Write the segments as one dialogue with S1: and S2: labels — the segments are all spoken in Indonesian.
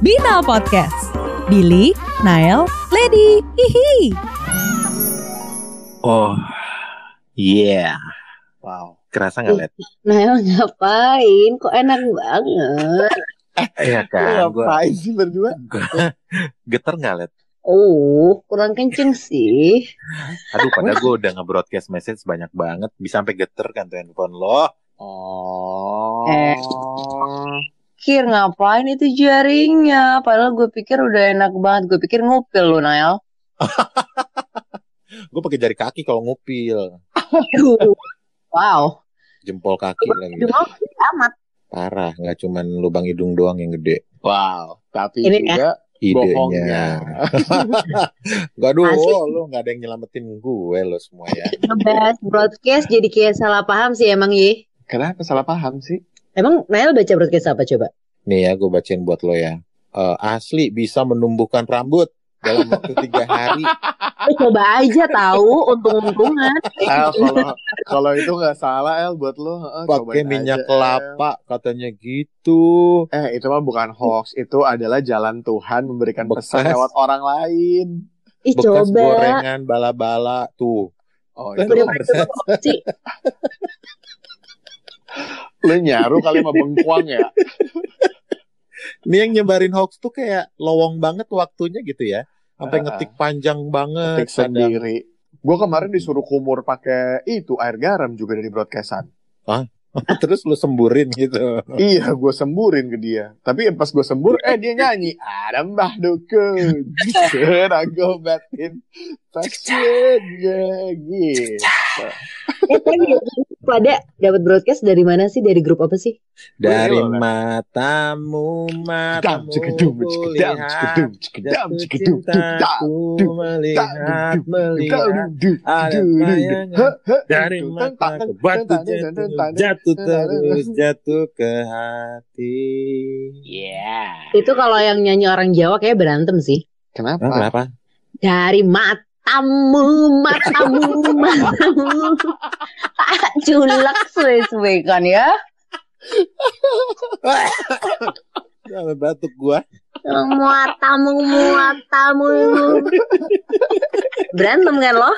S1: Bina Podcast. Billy, Nael, Lady, hihi.
S2: Oh, yeah.
S3: Wow.
S2: Kerasa nggak, Led?
S4: Nael ngapain? Kok enak banget?
S2: Iya kan, gua
S3: Ngapain sih berdua?
S2: geter nggak, Led?
S4: Oh, kurang kenceng sih.
S2: Aduh, padahal gue udah nge-broadcast message banyak banget. Bisa sampai geter kan tuh handphone lo.
S3: Oh.
S4: Eh. Kir ngapain itu jaringnya? Padahal gue pikir udah enak banget. Gue pikir ngupil lo Nael.
S2: Gue pakai jari kaki kalau ngupil.
S4: Aduh. Wow.
S2: Jempol kaki
S4: Aduh,
S2: lagi.
S4: amat.
S2: Parah, nggak cuman lubang hidung doang yang gede.
S3: Wow. Tapi
S4: Ini
S3: juga
S2: eh.
S3: bohongnya.
S2: Idenya. Gak aduh,
S4: Asik.
S2: lo nggak ada yang nyelamatin gue lo semua ya.
S4: Ngebahas broadcast jadi kayak salah paham sih emang ye.
S3: Kenapa salah paham sih?
S4: Emang Nael baca broadcast apa coba?
S2: Nih ya, gue bacain buat lo ya. Eh, asli bisa menumbuhkan rambut dalam waktu tiga hari.
S4: Eh, coba aja tahu untung-untungan.
S3: El, Eh, kalau kalau itu nggak salah El buat lo. Heeh,
S2: Pakai
S3: cobain
S2: minyak
S3: aja,
S2: kelapa, katanya gitu.
S3: El. Eh itu mah bukan hoax, itu adalah jalan Tuhan memberikan pesan
S2: Bekas.
S3: lewat orang lain.
S4: Ih,
S2: bekas
S4: coba.
S2: gorengan bala-bala tuh.
S3: Oh
S2: Bener.
S3: itu
S4: Udah pada coba opsi.
S3: lo nyaru kali sama bengkuang ya?
S2: Ini yang nyebarin hoax tuh kayak lowong banget waktunya gitu ya. Sampai
S3: Ah.
S2: ngetik panjang banget.
S3: Tik
S2: kadang.
S3: sendiri. Gue kemarin disuruh kumur pakai itu air garam juga dari broadcastan.
S2: Terus lu semburin gitu.
S3: Iya, gue semburin ke dia. Tapi pas gue sembur, eh dia nyanyi. Ada mbah dukun, serang gobatin pasiennya gitu.
S4: Eh, tapi pada dapat broadcast dari mana sih? Dari grup apa sih?
S2: Dari
S3: Gila, kan?
S2: matamu
S3: Dam,
S2: matamu
S3: cikedum, cikedam,
S2: kulihat.
S3: cikedum, cikedam, cikedum, cikedam,
S2: Cintaku melihat,
S3: dam,
S2: melihat.
S3: cikedum,
S2: Ada
S3: cikedum,
S2: bayangan
S3: he, he,
S2: Dari
S3: gitu.
S2: mata
S3: Tentang,
S2: ke batu
S3: tentang,
S2: jatuh,
S3: tentang,
S2: jatuh
S3: tentang,
S2: terus,
S3: tentang.
S2: jatuh ke hati.
S4: Iya.
S3: Yeah.
S4: Itu kalau yang nyanyi orang Jawa kayak berantem sih.
S2: Ah,
S3: Kenapa?
S2: Kenapa?
S4: Dari matamu, matamu, matamu. Tak culek suwe-suwe kan ya.
S2: Sampai batuk gua.
S4: Muatamu, muatamu. Berantem kan lo?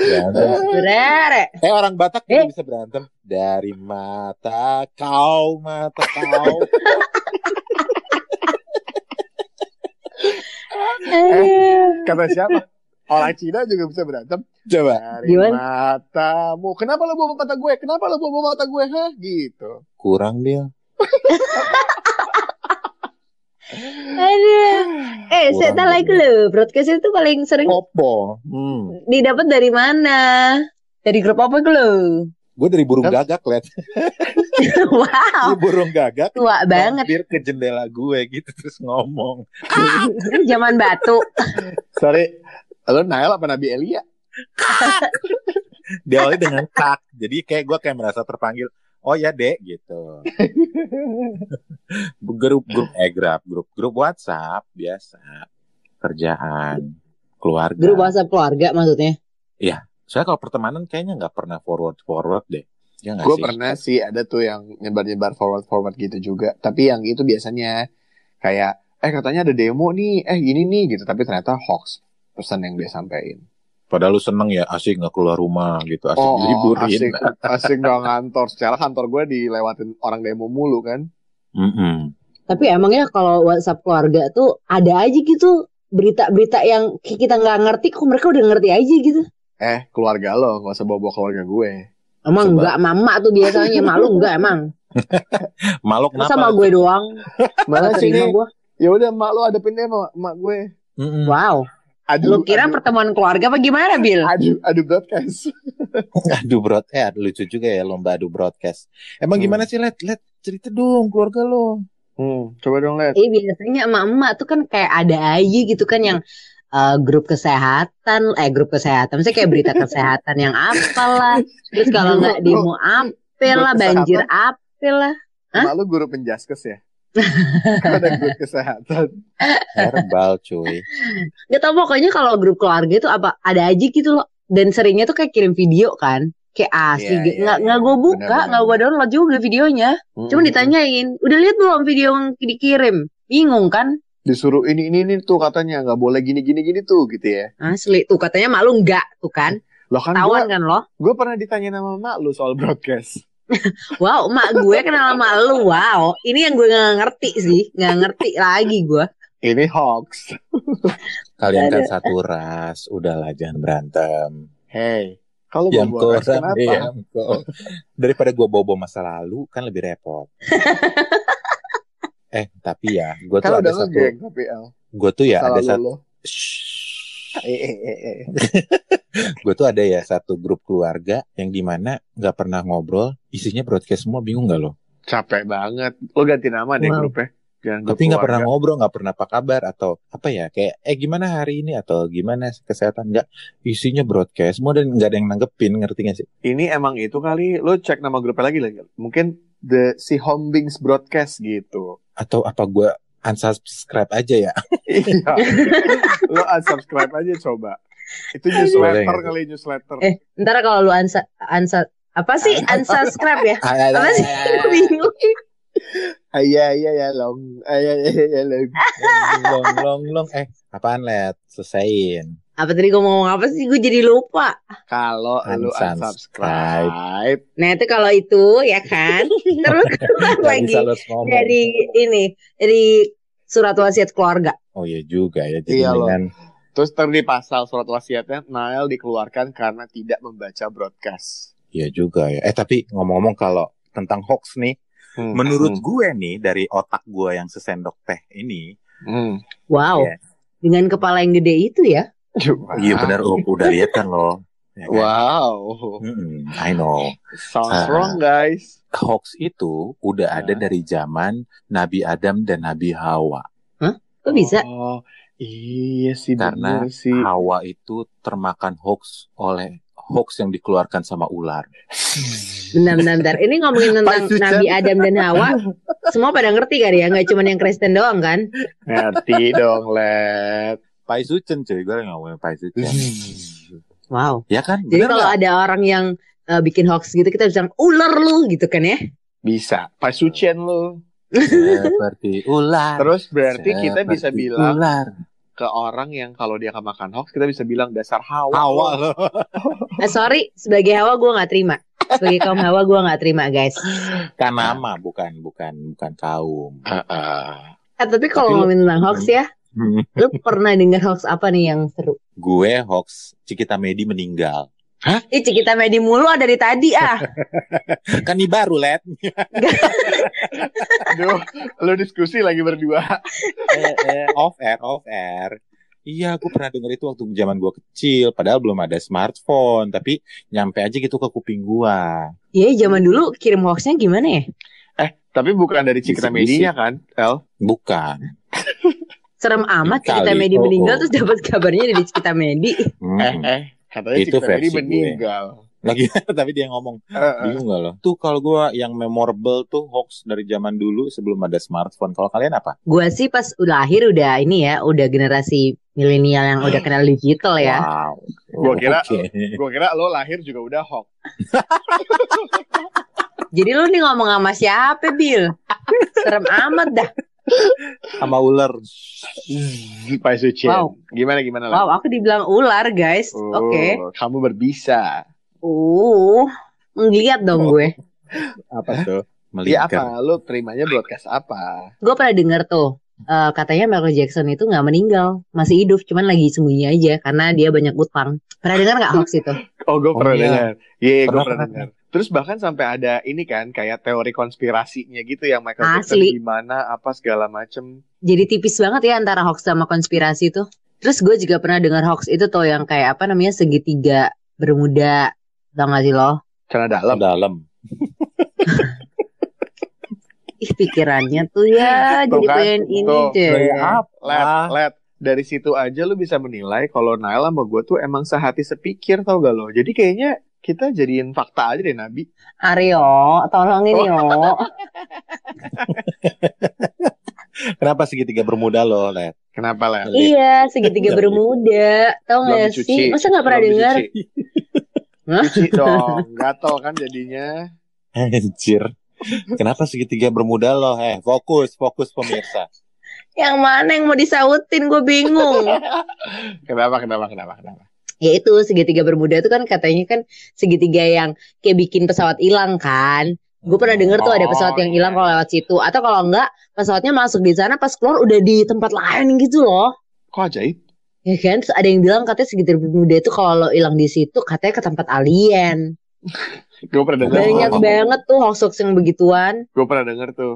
S2: Berantem.
S4: Berere.
S2: Eh orang Batak juga
S4: Eh.
S2: bisa berantem dari mata kau mata kau.
S3: Kata siapa? Orang Cina juga bisa berantem
S2: Coba
S3: dari
S4: Gimana?
S3: matamu. Kenapa lo bawa mata gue? Kenapa lo bawa mata gue? Hah, gitu.
S2: kurang dia.
S4: Aduh. Eh, saya tak like lo. Broadcast itu paling sering
S2: Opo. Hmm.
S4: didapat dari mana? Dari grup apa lo?
S2: Gue dari burung gagak liat.
S4: wow,
S2: Ini burung gagak.
S4: tua Ah. banget.
S2: Hampir ke jendela gue gitu terus ngomong.
S4: Zaman batu.
S3: Sorry, lo Nael apa Nabi Elia?
S2: Diawali dengan kak. Jadi kayak gue kayak merasa terpanggil. Oh ya dek gitu. grup grup eh grup grup grup WhatsApp biasa kerjaan keluarga.
S4: Grup WhatsApp keluarga maksudnya.
S2: Soalnya kalau pertemanan kayaknya nggak pernah forward forward deh. Ya nggak
S3: Gue
S2: sih?
S3: pernah sih ada tuh yang nyebar-nyebar forward-forward gitu juga. Tapi yang itu biasanya kayak eh katanya ada demo nih, eh gini nih gitu. Tapi ternyata hoax pesan yang dia sampein.
S2: Padahal lu seneng ya asik nggak keluar rumah gitu, asik liburin.
S3: Oh, asik, asik gak ngantor. Secara kantor gue dilewatin orang demo mulu kan.
S2: Mm-mm.
S4: Tapi emangnya kalau WhatsApp keluarga tuh ada aja gitu berita-berita yang ki- kita nggak ngerti kok mereka udah ngerti aja gitu.
S3: Eh keluarga lo, gak usah bawa-bawa keluarga gue.
S4: Emang
S2: Coba.
S4: enggak mama tuh biasanya malu enggak emang.
S2: Malu kenapa?
S4: Masa sama gue doang
S3: Mana
S4: nggak
S3: sih
S4: terima
S3: nih?
S4: gue.
S3: Ya udah mak lo ada pindah mak, mak gue.
S2: Mm-mm.
S4: Wow. Lu
S3: Aduh,
S4: kira
S3: aduh,
S4: pertemuan keluarga apa gimana, Bil?
S3: aduh, aduh broadcast.
S2: Adu broad, eh aduh, lucu juga ya lomba adu broadcast. Emang
S3: Hmm.
S2: gimana sih let let cerita dong keluarga lo.
S3: Hmm, coba dong lihat.
S4: Eh biasanya emak-emak tuh kan kayak ada aja gitu kan yang eh, grup kesehatan, eh grup kesehatan, maksudnya kayak berita kesehatan yang apalah. Terus kalau nggak demo apel lah,
S3: Grup
S4: banjir apel lah. Hah?
S3: Mak lo guru penjaskes ya? Gua ada guru kesehatan.
S2: Herbal cuy.
S4: Gak tau pokoknya kalau grup keluarga itu apa ada aja gitu loh. Dan seringnya tuh kayak kirim video kan. Kayak asli
S3: Iya,
S4: gitu.
S3: iya,
S4: nggak
S3: iya.
S4: nggak gue buka,
S3: Benar, Hmm. benar,
S4: nggak gue download juga videonya. Cuma ditanyain, udah lihat belum video yang dikirim? bingung kan
S3: disuruh ini ini ini tuh katanya nggak boleh gini gini gini tuh gitu ya
S4: asli tuh katanya malu nggak tuh kan
S3: loh kan
S4: tawan
S3: gue
S4: kan lo
S3: gue pernah ditanya sama mak lu soal broadcast
S4: wow mak gue kenal sama lu wow ini yang gue nggak ngerti sih nggak ngerti lagi gue
S3: ini hoax
S2: Kalian kan
S4: Ada.
S2: satu ras, udahlah jangan berantem.
S3: hey kalau
S2: Yang iya.
S3: gue
S2: kok,
S3: kenapa
S2: Daripada gue bobo masa lalu kan lebih repot. eh tapi ya, gue tuh
S3: kalau
S2: ada
S3: Kan udah
S2: satu,
S3: ngegeng KPL
S2: gue tuh ya
S3: salah
S2: ada
S3: lu,
S2: satu.
S3: lu.
S2: Shh.
S3: eh, eh, eh, eh.
S2: gue tuh ada ya satu grup keluarga yang dimana nggak pernah ngobrol isinya broadcast semua bingung nggak lo
S3: capek banget lo ganti nama deh
S4: Wow.
S3: grupnya Jangan grup
S2: tapi nggak pernah
S3: keluarga.
S2: ngobrol nggak pernah apa kabar atau apa ya kayak eh gimana hari ini atau gimana kesehatan nggak isinya broadcast semua dan nggak ada yang nanggepin ngerti gak sih
S3: ini emang itu kali lo cek nama grupnya lagi lagi mungkin the si Hombings broadcast gitu
S2: atau apa gue unsubscribe aja ya
S3: iya lo unsubscribe aja coba itu
S2: Boleh
S3: newsletter
S2: nggak?
S3: kali newsletter
S4: Eh, ntar kalau lu ansa ansa apa sih unsubscribe ya apa sih bingung
S3: Iya iya ya long, iya iya ya long.
S2: long long long eh apaan let selesaiin
S4: apa tadi gue mau ngomong apa sih gue jadi lupa
S3: Kalau lu
S2: Unsubscribe.
S3: unsubscribe,
S4: nah itu kalau itu ya kan terus keluar
S2: Nggak
S4: lagi
S2: bisa lo ngomong
S4: dari ini dari surat wasiat keluarga
S2: oh iya juga ya jadi
S3: Iya, lo.
S2: mendingan
S3: terus terdi pasal surat wasiatnya Nael dikeluarkan karena tidak membaca broadcast.
S2: Iya juga ya. Eh tapi ngomong-ngomong kalau tentang hoax nih,
S3: Hmm.
S2: menurut gue nih dari otak gue yang sesendok teh ini,
S3: Hmm.
S4: wow
S2: Iya.
S4: dengan kepala yang gede itu ya
S3: Wow.
S2: iya benar oh, udah lihat kan lo. Ya kan?
S3: Wow,
S2: Mm-mm, I know.
S3: sounds
S2: Ah.
S3: wrong guys.
S2: Hoax itu udah ada dari zaman Nabi Adam dan Nabi Hawa.
S4: kok bisa
S3: Oh, iya sih
S2: Karena
S3: benar sih.
S2: Hawa itu termakan hoax oleh hoax yang dikeluarkan sama ular.
S4: bentar bentar, bentar. ini ngomongin tentang
S3: Pak Sucen.
S4: Nabi Adam dan Hawa semua pada ngerti kali ya nggak cuma yang Kristen doang kan
S3: Ngerti dong, Let.
S2: Pai Sucen cuy, gue ngomongin Pai Sucen.
S3: Zzz.
S4: wow
S2: ya kan?
S4: jadi
S2: Bener
S4: kalau
S2: nggak?
S4: ada orang yang eh, bikin hoax gitu kita bisa ular lu gitu kan ya
S3: Bisa. Pasucen lu.
S2: Seperti ular.
S3: Terus berarti kita bisa
S2: Seperti
S3: bilang
S2: ular.
S3: ke orang yang kalau dia kemakan hoax kita bisa bilang dasar hawa.
S2: Hawa lo.
S4: Eh, sorry sebagai Hawa gue nggak terima sebagai kaum Hawa gue nggak terima guys
S2: Bukan
S3: Nah.
S2: nama, bukan bukan bukan kaum. ah.
S4: Eh, tapi
S2: Tapi lu-
S4: kalau ngomongin tentang hoax ya lu pernah dengar hoax apa nih yang seru
S2: Gue hoax Cikita Medi meninggal.
S4: Ih, kita Medi mulu ada dari tadi ah.
S2: Kan ini baru, Let.
S3: Aduh, lu diskusi lagi berdua.
S2: Eh, eh, off air, off air. Iya, gue pernah denger itu waktu zaman gue kecil, padahal belum ada smartphone, tapi nyampe aja gitu ke kuping gue.
S4: Iya, zaman dulu kirim hoaxnya gimana ya?
S3: Tapi bukan dari Cikra
S2: Bisik-bisik.
S3: Medinya kan, El?
S2: Bukan.
S4: Serem amat
S2: Kali.
S4: kita Medi
S2: Oh,
S4: meninggal
S2: oh.
S4: terus dapat kabarnya dari kita Medi.
S2: Mm.
S3: Eh, eh. Katanya
S2: Itu
S3: Cikra Medi
S2: versi gue.
S3: meninggal.
S2: Lagi tapi dia ngomong,
S3: Eh, eh.
S2: bingung gak lo? Ah. Tuh kalau gue yang memorable tuh hoax dari zaman dulu sebelum ada smartphone. Kalau kalian apa?
S4: Gua sih pas udah lahir udah ini ya, udah generasi milenial yang udah kenal digital ya.
S2: Wow.
S3: Gua kira-
S2: Oke.
S3: Eh, Gua kira lo lahir juga udah hoax.
S4: Jadi lu nih ngomong sama siapa, Bil? Serem amat dah.
S2: sama ular.
S3: Zzz, Pasucen.
S4: Wow.
S3: Gimana gimana lah?
S4: Wow, aku dibilang ular, guys.
S3: Oh,
S4: Oke.
S3: Kamu berbisa.
S4: Uh. Ngeliat dong gue.
S2: Apa tuh?
S3: Iya
S2: Melingkar.
S3: apa? Lo terimanya broadcast apa?
S4: Gue pernah denger tuh. eh, katanya Michael Jackson itu nggak meninggal, masih hidup, cuman lagi sembunyi aja karena dia banyak utang. Pernah dengar nggak hoax itu?
S3: Oh,
S2: Oh,
S3: gue pernah
S2: iya.
S3: dengar. Iya,
S2: Pernah,
S3: gue pernah
S2: pernah.
S3: dengar. Terus bahkan sampai ada ini kan kayak teori konspirasinya gitu yang Michael Jackson
S4: Asli.
S3: gimana apa segala macem.
S4: jadi tipis banget ya antara hoax sama konspirasi tuh. Terus gue juga pernah dengar hoax itu tuh yang kayak apa namanya segitiga bermuda tau gak sih lo?
S3: Karena dalam.
S2: Dalam.
S4: Ih pikirannya tuh ya
S3: Tuh
S4: jadi
S3: kan,
S4: pengen ini
S3: tuh, ya.
S4: deh.
S2: Kayak
S3: Let,
S2: ya apa?
S3: let. Dari situ aja lu bisa menilai kalau Nail sama gue tuh emang sehati sepikir tau gak lo. Jadi kayaknya kita jadiin fakta aja deh Nabi.
S4: Aryo, tolongin yo.
S2: Kenapa segitiga bermuda lo, Let?
S3: Kenapa let?
S4: iya segitiga
S2: Belum
S4: bermuda, tau
S3: Belum
S4: gak
S3: dicuci.
S4: sih? Masa gak pernah
S3: Belum
S4: dengar?
S3: dicuci.
S4: Hah?
S3: Cuci dong, gatel kan jadinya.
S2: Anjir. Kenapa segitiga bermuda lo? Eh, fokus, fokus pemirsa.
S4: Yang mana yang mau disautin gue bingung.
S3: Kenapa, kenapa, kenapa, kenapa?
S4: ya itu segitiga bermuda itu kan katanya kan segitiga yang kayak bikin pesawat hilang kan. Gue pernah denger tuh ada pesawat yang hilang kalau lewat situ atau kalau enggak pesawatnya masuk di sana pas keluar udah di tempat lain gitu loh.
S3: Kok ajaib?
S4: Ya kan, Terus ada yang bilang katanya segitiga bermuda itu kalau lo hilang di situ katanya ke tempat alien.
S3: Gue pernah denger.
S4: Banyak banget tuh hoax-hoax yang begituan.
S3: Gue pernah denger tuh.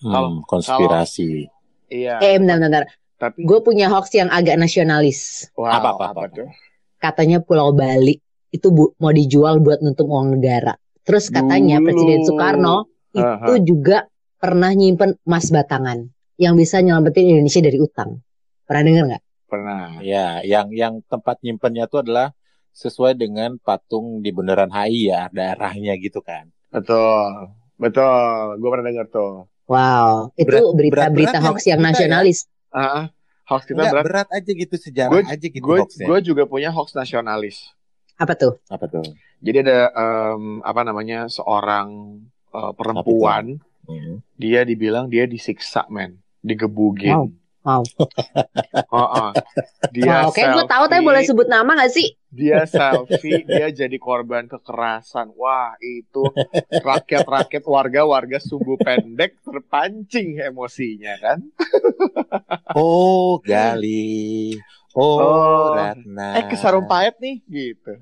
S3: Kalau-
S2: Mm-mm, konspirasi.
S3: Iya.
S4: Eh, bentar, bentar.
S3: tapi
S4: Gue punya hoax yang agak nasionalis.
S3: wow,
S2: Apa, apa, apa?
S3: tuh?
S4: katanya Pulau Bali itu bu- mau dijual buat nutup uang negara. Terus katanya
S3: Dulu.
S4: Presiden Soekarno itu
S3: Aha.
S4: juga pernah nyimpen emas batangan yang bisa nyelamatin Indonesia dari utang. Pernah denger nggak?
S3: Pernah.
S2: Ya, yang yang tempat nyimpennya itu adalah sesuai dengan patung di bundaran HI ya, daerahnya gitu kan.
S3: Betul. Betul. Gue pernah denger tuh.
S4: Wow, itu
S2: Berat-
S4: berita-berita
S2: berat-berat
S4: hoax yang
S2: yang kita ya?
S4: nasionalis.
S3: Ah, ah. hoax kita
S2: Nggak,
S3: berat.
S2: berat aja gitu sejarah
S3: Gue-
S2: aja gitu
S3: Gue
S2: hoaxnya.
S3: gue juga punya hoax nasionalis.
S4: Apa tuh?
S2: Apa tuh?
S3: Jadi ada em, apa namanya seorang eh, perempuan,
S2: Hmm.
S3: dia dibilang dia disiksa men, digebugin.
S4: Wow. Wow.
S3: Oh, oh. Dia
S2: Iya,
S4: wow, kayak gue tahu tapi
S3: selfie,
S4: boleh sebut nama nggak sih?
S3: Dia selfie, dia jadi korban kekerasan. Wah, itu rakyat-rakyat warga-warga sumbu pendek terpancing emosinya kan.
S2: Oh, Gali. Oh,
S3: Eh, Oh.
S2: Ratna.
S3: Eh, ke sarung pahit nih gitu.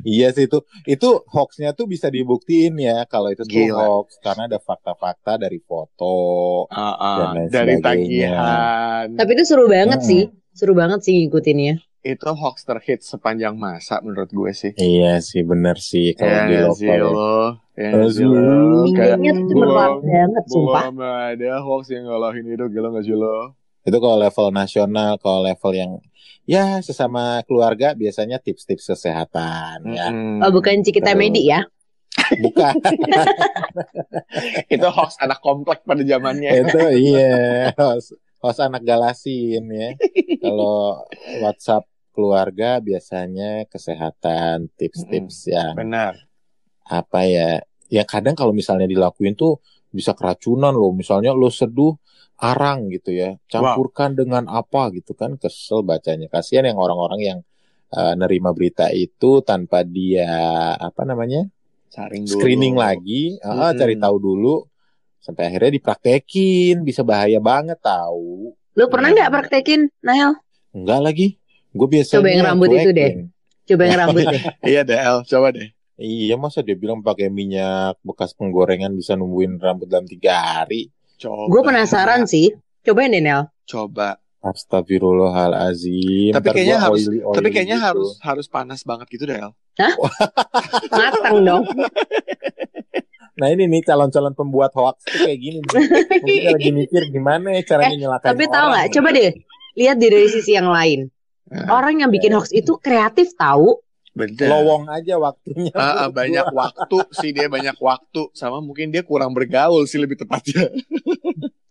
S2: Iya sih itu. Itu hoaxnya tuh bisa dibuktiin ya kalau itu tuh
S3: Gila.
S2: hoax karena ada fakta-fakta dari foto.
S3: Ah, ah.
S2: Dan lain
S3: dari
S2: sebagainya.
S3: tagihan.
S4: Tapi itu seru banget
S2: Hmm.
S4: sih, seru banget sih ngikutinnya.
S3: Itu hoax terhits sepanjang masa menurut gue sih.
S2: Iya sih bener sih kalau
S3: Ya
S2: di
S3: nggak sih
S2: lokal.
S3: lo? Ya
S2: Kalau
S3: nggak sih
S2: Zul.
S3: lo? Kayak-
S4: Minggunya tuh cuma
S3: Gua-
S4: kelar banget, sumpah.
S3: Belum ada hoax yang ngalahin itu gila gak sih lo?
S2: Itu kalau level nasional, kalau level yang ya sesama keluarga biasanya tips-tips kesehatan ya.
S4: Oh, bukan Cikita
S2: Betul.
S4: Medi ya?
S2: Bukan
S3: Itu hoax anak komplek pada zamannya.
S2: itu iya host, host anak galasin ya. Kalau WhatsApp keluarga biasanya kesehatan, tips-tips yang
S3: Benar.
S2: apa ya? Ya kadang kalau misalnya dilakuin tuh bisa keracunan loh. Misalnya lo seduh arang gitu ya, campurkan dengan apa gitu kan kesel bacanya. Kasihan yang orang-orang yang eh, nerima berita itu tanpa dia apa namanya
S3: Saring dulu.
S2: screening lagi, ah,
S3: Mm-mm.
S2: cari tahu dulu sampai akhirnya dipraktekin bisa bahaya banget tahu.
S4: Lu pernah
S2: Iya.
S4: nggak praktekin, Nael?
S2: Enggak lagi, gue biasanya
S4: Coba yang rambut itu
S2: cuekin.
S4: deh. Coba yang rambut deh.
S3: Iya DL, coba deh.
S2: Iya masa dia bilang pakai minyak bekas penggorengan bisa numbuhin rambut dalam tiga hari.
S3: Coba.
S4: Gue
S2: Iya.
S4: penasaran sih. Cobain deh, Nel.
S3: Coba.
S2: Astagfirullahalazim.
S3: Tapi
S2: Ntar
S3: kayaknya
S2: gua
S3: harus-
S2: oily-oily
S3: Tapi kayaknya
S2: gitu.
S3: harus harus panas banget gitu DL.
S4: Matang dong.
S2: Nah ini nih calon-calon pembuat hoax tuh kayak gini. nih. Mungkin dia lagi mikir gimana ya caranya nyelakain
S4: Eh, Tapi tahu
S2: orang. gitu. Hmm.
S4: nggak? Coba deh. Lihat deh dari sisi yang lain. Orang yang
S2: Iya.
S4: bikin hoax itu kreatif tahu.
S3: Bener.
S2: Lowong aja waktunya.
S3: Ah, ah, banyak waktu sih dia banyak waktu sama mungkin dia kurang bergaul sih lebih tepatnya.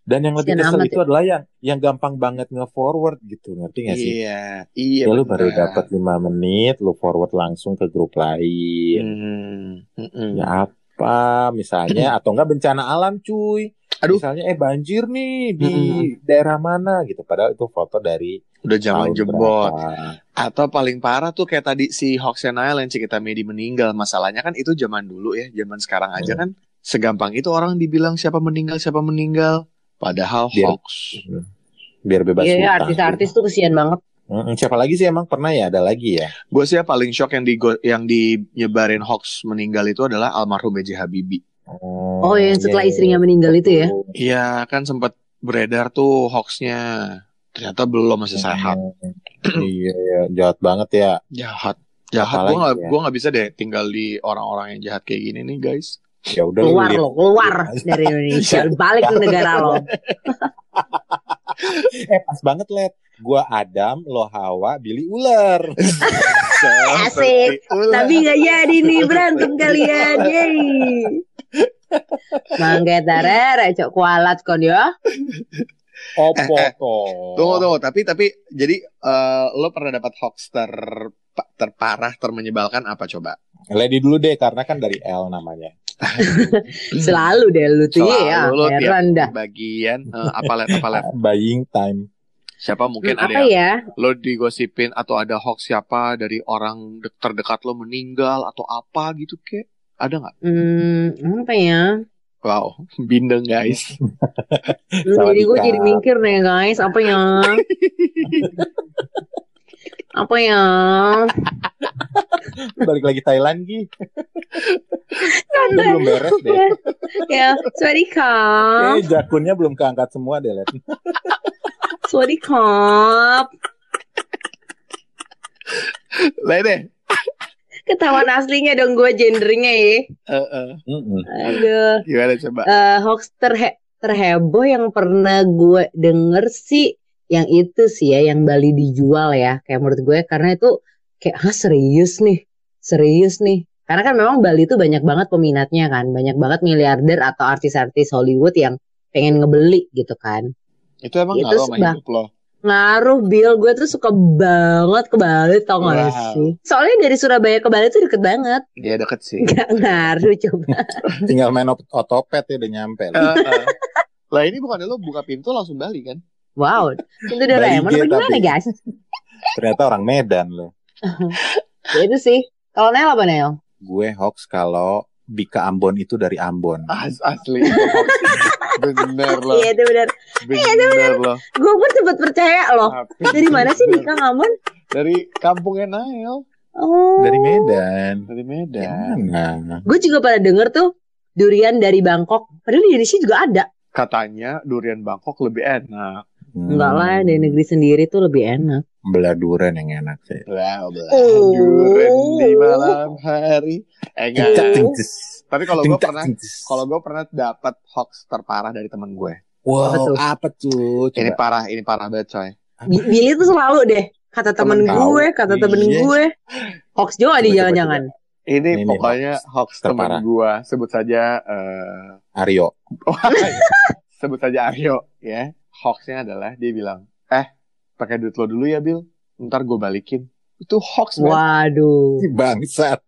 S2: Dan yang lebih
S4: Kasian
S2: kesel
S4: amat ya.
S2: itu adalah yang yang gampang banget nge-forward gitu. Ngerti gak sih?
S3: Iya, iya.
S2: Ya, lu baru
S3: bener.
S2: dapat 5 menit, lu forward langsung ke grup lain.
S3: Hmm, mm-mm.
S2: Ya apa
S4: Hmm.
S2: misalnya atau enggak bencana alam cuy.
S3: Aduh.
S2: Misalnya eh banjir nih
S4: Hmm,
S2: di daerah mana gitu padahal itu foto dari
S3: Udah zaman
S2: tahun
S3: jebot.
S2: berapa.
S3: Atau paling parah tuh kayak tadi si Hoaxnya Nael yang Cikita Medi meninggal. Masalahnya kan itu zaman dulu ya. Zaman sekarang
S2: Iya.
S3: aja kan segampang itu orang dibilang siapa meninggal, siapa meninggal. Padahal
S2: Biar-
S3: hoax.
S2: Hmm. biar bebas
S4: Iya,
S2: hutang.
S4: artis-artis tuh kesian banget.
S2: Mm-mm, siapa lagi sih emang pernah ya ada lagi ya?
S3: Gue sih yang paling shock yang, di, yang dinyebarin hoax meninggal itu adalah almarhum B.J. Habibie.
S4: Oh,
S2: iya,
S4: yang setelah istrinya meninggal itu ya?
S2: Hmm.
S3: Iya kan sempat beredar tuh hoaxnya. Ternyata belum masih sehat.
S2: iya, iya, jahat banget ya.
S3: Jahat. Jahat. Gue
S2: Apalagi
S3: gak,
S2: ya.
S3: gua nggak bisa deh tinggal di orang-orang yang jahat kayak gini nih guys.
S2: Ya udah lu
S4: Keluar
S2: lihat.
S4: lo, keluar dari Indonesia. Balik ke negara lo.
S2: Eh pas banget let. Gua Adam, lo Hawa, Billy ular.
S4: Asik. Tapi nggak jadi nih berantem kalian. Yeay. Mangga tarara, cok kualat kon yo.
S3: Hmm.
S2: Opo
S3: Eh, eh,
S2: toh.
S3: Tunggu tunggu tapi tapi jadi eh, lo pernah dapat hoax ter terparah termenyebalkan apa coba?
S2: Lady dulu deh karena kan dari L namanya.
S4: Selalu deh lu tuh
S3: Selalu
S4: ya.
S3: lu tiap
S4: Heran dah.
S3: bagian eh, apalet apalet
S2: buying time.
S3: siapa mungkin
S4: Hmm,
S3: ada
S4: apa
S3: yang
S4: ya?
S3: lo digosipin atau ada hoax siapa dari orang de- terdekat lo meninggal atau apa gitu kek ada nggak?
S4: Hmm, apa ya?
S3: Wow, bindeng guys.
S4: Hmm,
S2: Salah
S4: jadi gue
S2: dikap.
S4: jadi mikir nih guys, apa ya? apa ya?
S2: Balik lagi Thailand Gi. Ini
S4: Santai.
S2: belum beres deh.
S4: ya, sorry kak,
S2: Eh, jakunnya belum keangkat semua deh, Let.
S4: sorry kak.
S3: Lede.
S4: Ketahuan aslinya dong gue gendernya ya.
S3: Eh, eh,
S2: Mm-mm.
S4: Aduh.
S3: gimana coba?
S4: Eh, hoax terhe terheboh yang pernah gue denger sih yang itu sih ya yang Bali dijual ya kayak menurut gue karena itu kayak ah serius nih serius nih karena kan memang Bali itu banyak banget peminatnya kan banyak banget miliarder atau artis-artis Hollywood yang pengen ngebeli gitu kan
S3: Itu emang
S4: itu
S3: ngaruh sama
S4: sebab-
S3: hidup lo.
S4: ngaruh Bill gue tuh suka banget ke Bali tau gak
S3: Wow.
S4: sih soalnya dari Surabaya ke Bali tuh deket banget
S3: Dia deket sih. Eh,
S4: gak ngaruh coba
S2: Tinggal main ot- otopet ya udah nyampe.
S3: Eh, eh. Lah ini bukan lo buka pintu langsung balik kan?
S4: wow itu Doraemon
S2: Bali
S4: apa
S2: G
S4: gimana
S2: tapi.
S4: guys
S2: Ternyata orang Medan lo.
S4: Ya itu sih. Kalau Nel apa Nel?
S2: Gue hoax kalau Bika Ambon itu dari Ambon.
S3: As asli. bener lo.
S4: Iya itu benar.
S3: Bener lo.
S4: Gue pun sempat percaya loh. Dari mana sih Mika Ngamon?
S3: Dari kampungnya Nael.
S4: Oh.
S2: Dari Medan.
S3: Dari
S4: Ya.
S3: Medan. Iya.
S2: Gimana?
S4: Gue juga pada denger tuh durian dari Bangkok. Padahal di Indonesia juga ada.
S3: Katanya durian Bangkok lebih enak.
S2: Hmm.
S4: Enggak lah, dari negeri sendiri tuh lebih enak.
S2: Belah durian yang enak sih.
S3: Bla bla.
S4: Oh.
S3: Durian di malam hari. Eh enggak.
S4: Iya.
S2: Ting, tis.
S3: Tapi kalau
S2: Ting,
S3: gue
S2: tak,
S3: pernah
S2: ting, tis.
S3: kalau gue pernah dapat hoax terparah dari temen gue.
S4: Apa
S2: wow
S4: tuh?
S2: apa tuh?
S3: Ini
S2: Coba.
S3: parah, ini parah banget coy.
S4: Bi- Billy tuh selalu deh. Kata temen
S3: Temen tahu.
S4: gue, kata temen
S2: Iya.
S4: gue. Hoax juga
S2: Coba,
S4: nih
S2: coba,
S4: jangan-jangan.
S3: Ini,
S2: Ini
S3: pokoknya
S2: hoax
S3: hoax, temen
S2: terparah.
S3: gue. Sebut saja eh
S2: Aryo.
S3: oh, sebut saja Aryo ya. Hoaxnya adalah dia bilang, eh pakai duit lo dulu ya Bill, ntar gue balikin. Itu hoax man.
S4: Waduh.
S2: Bangsat.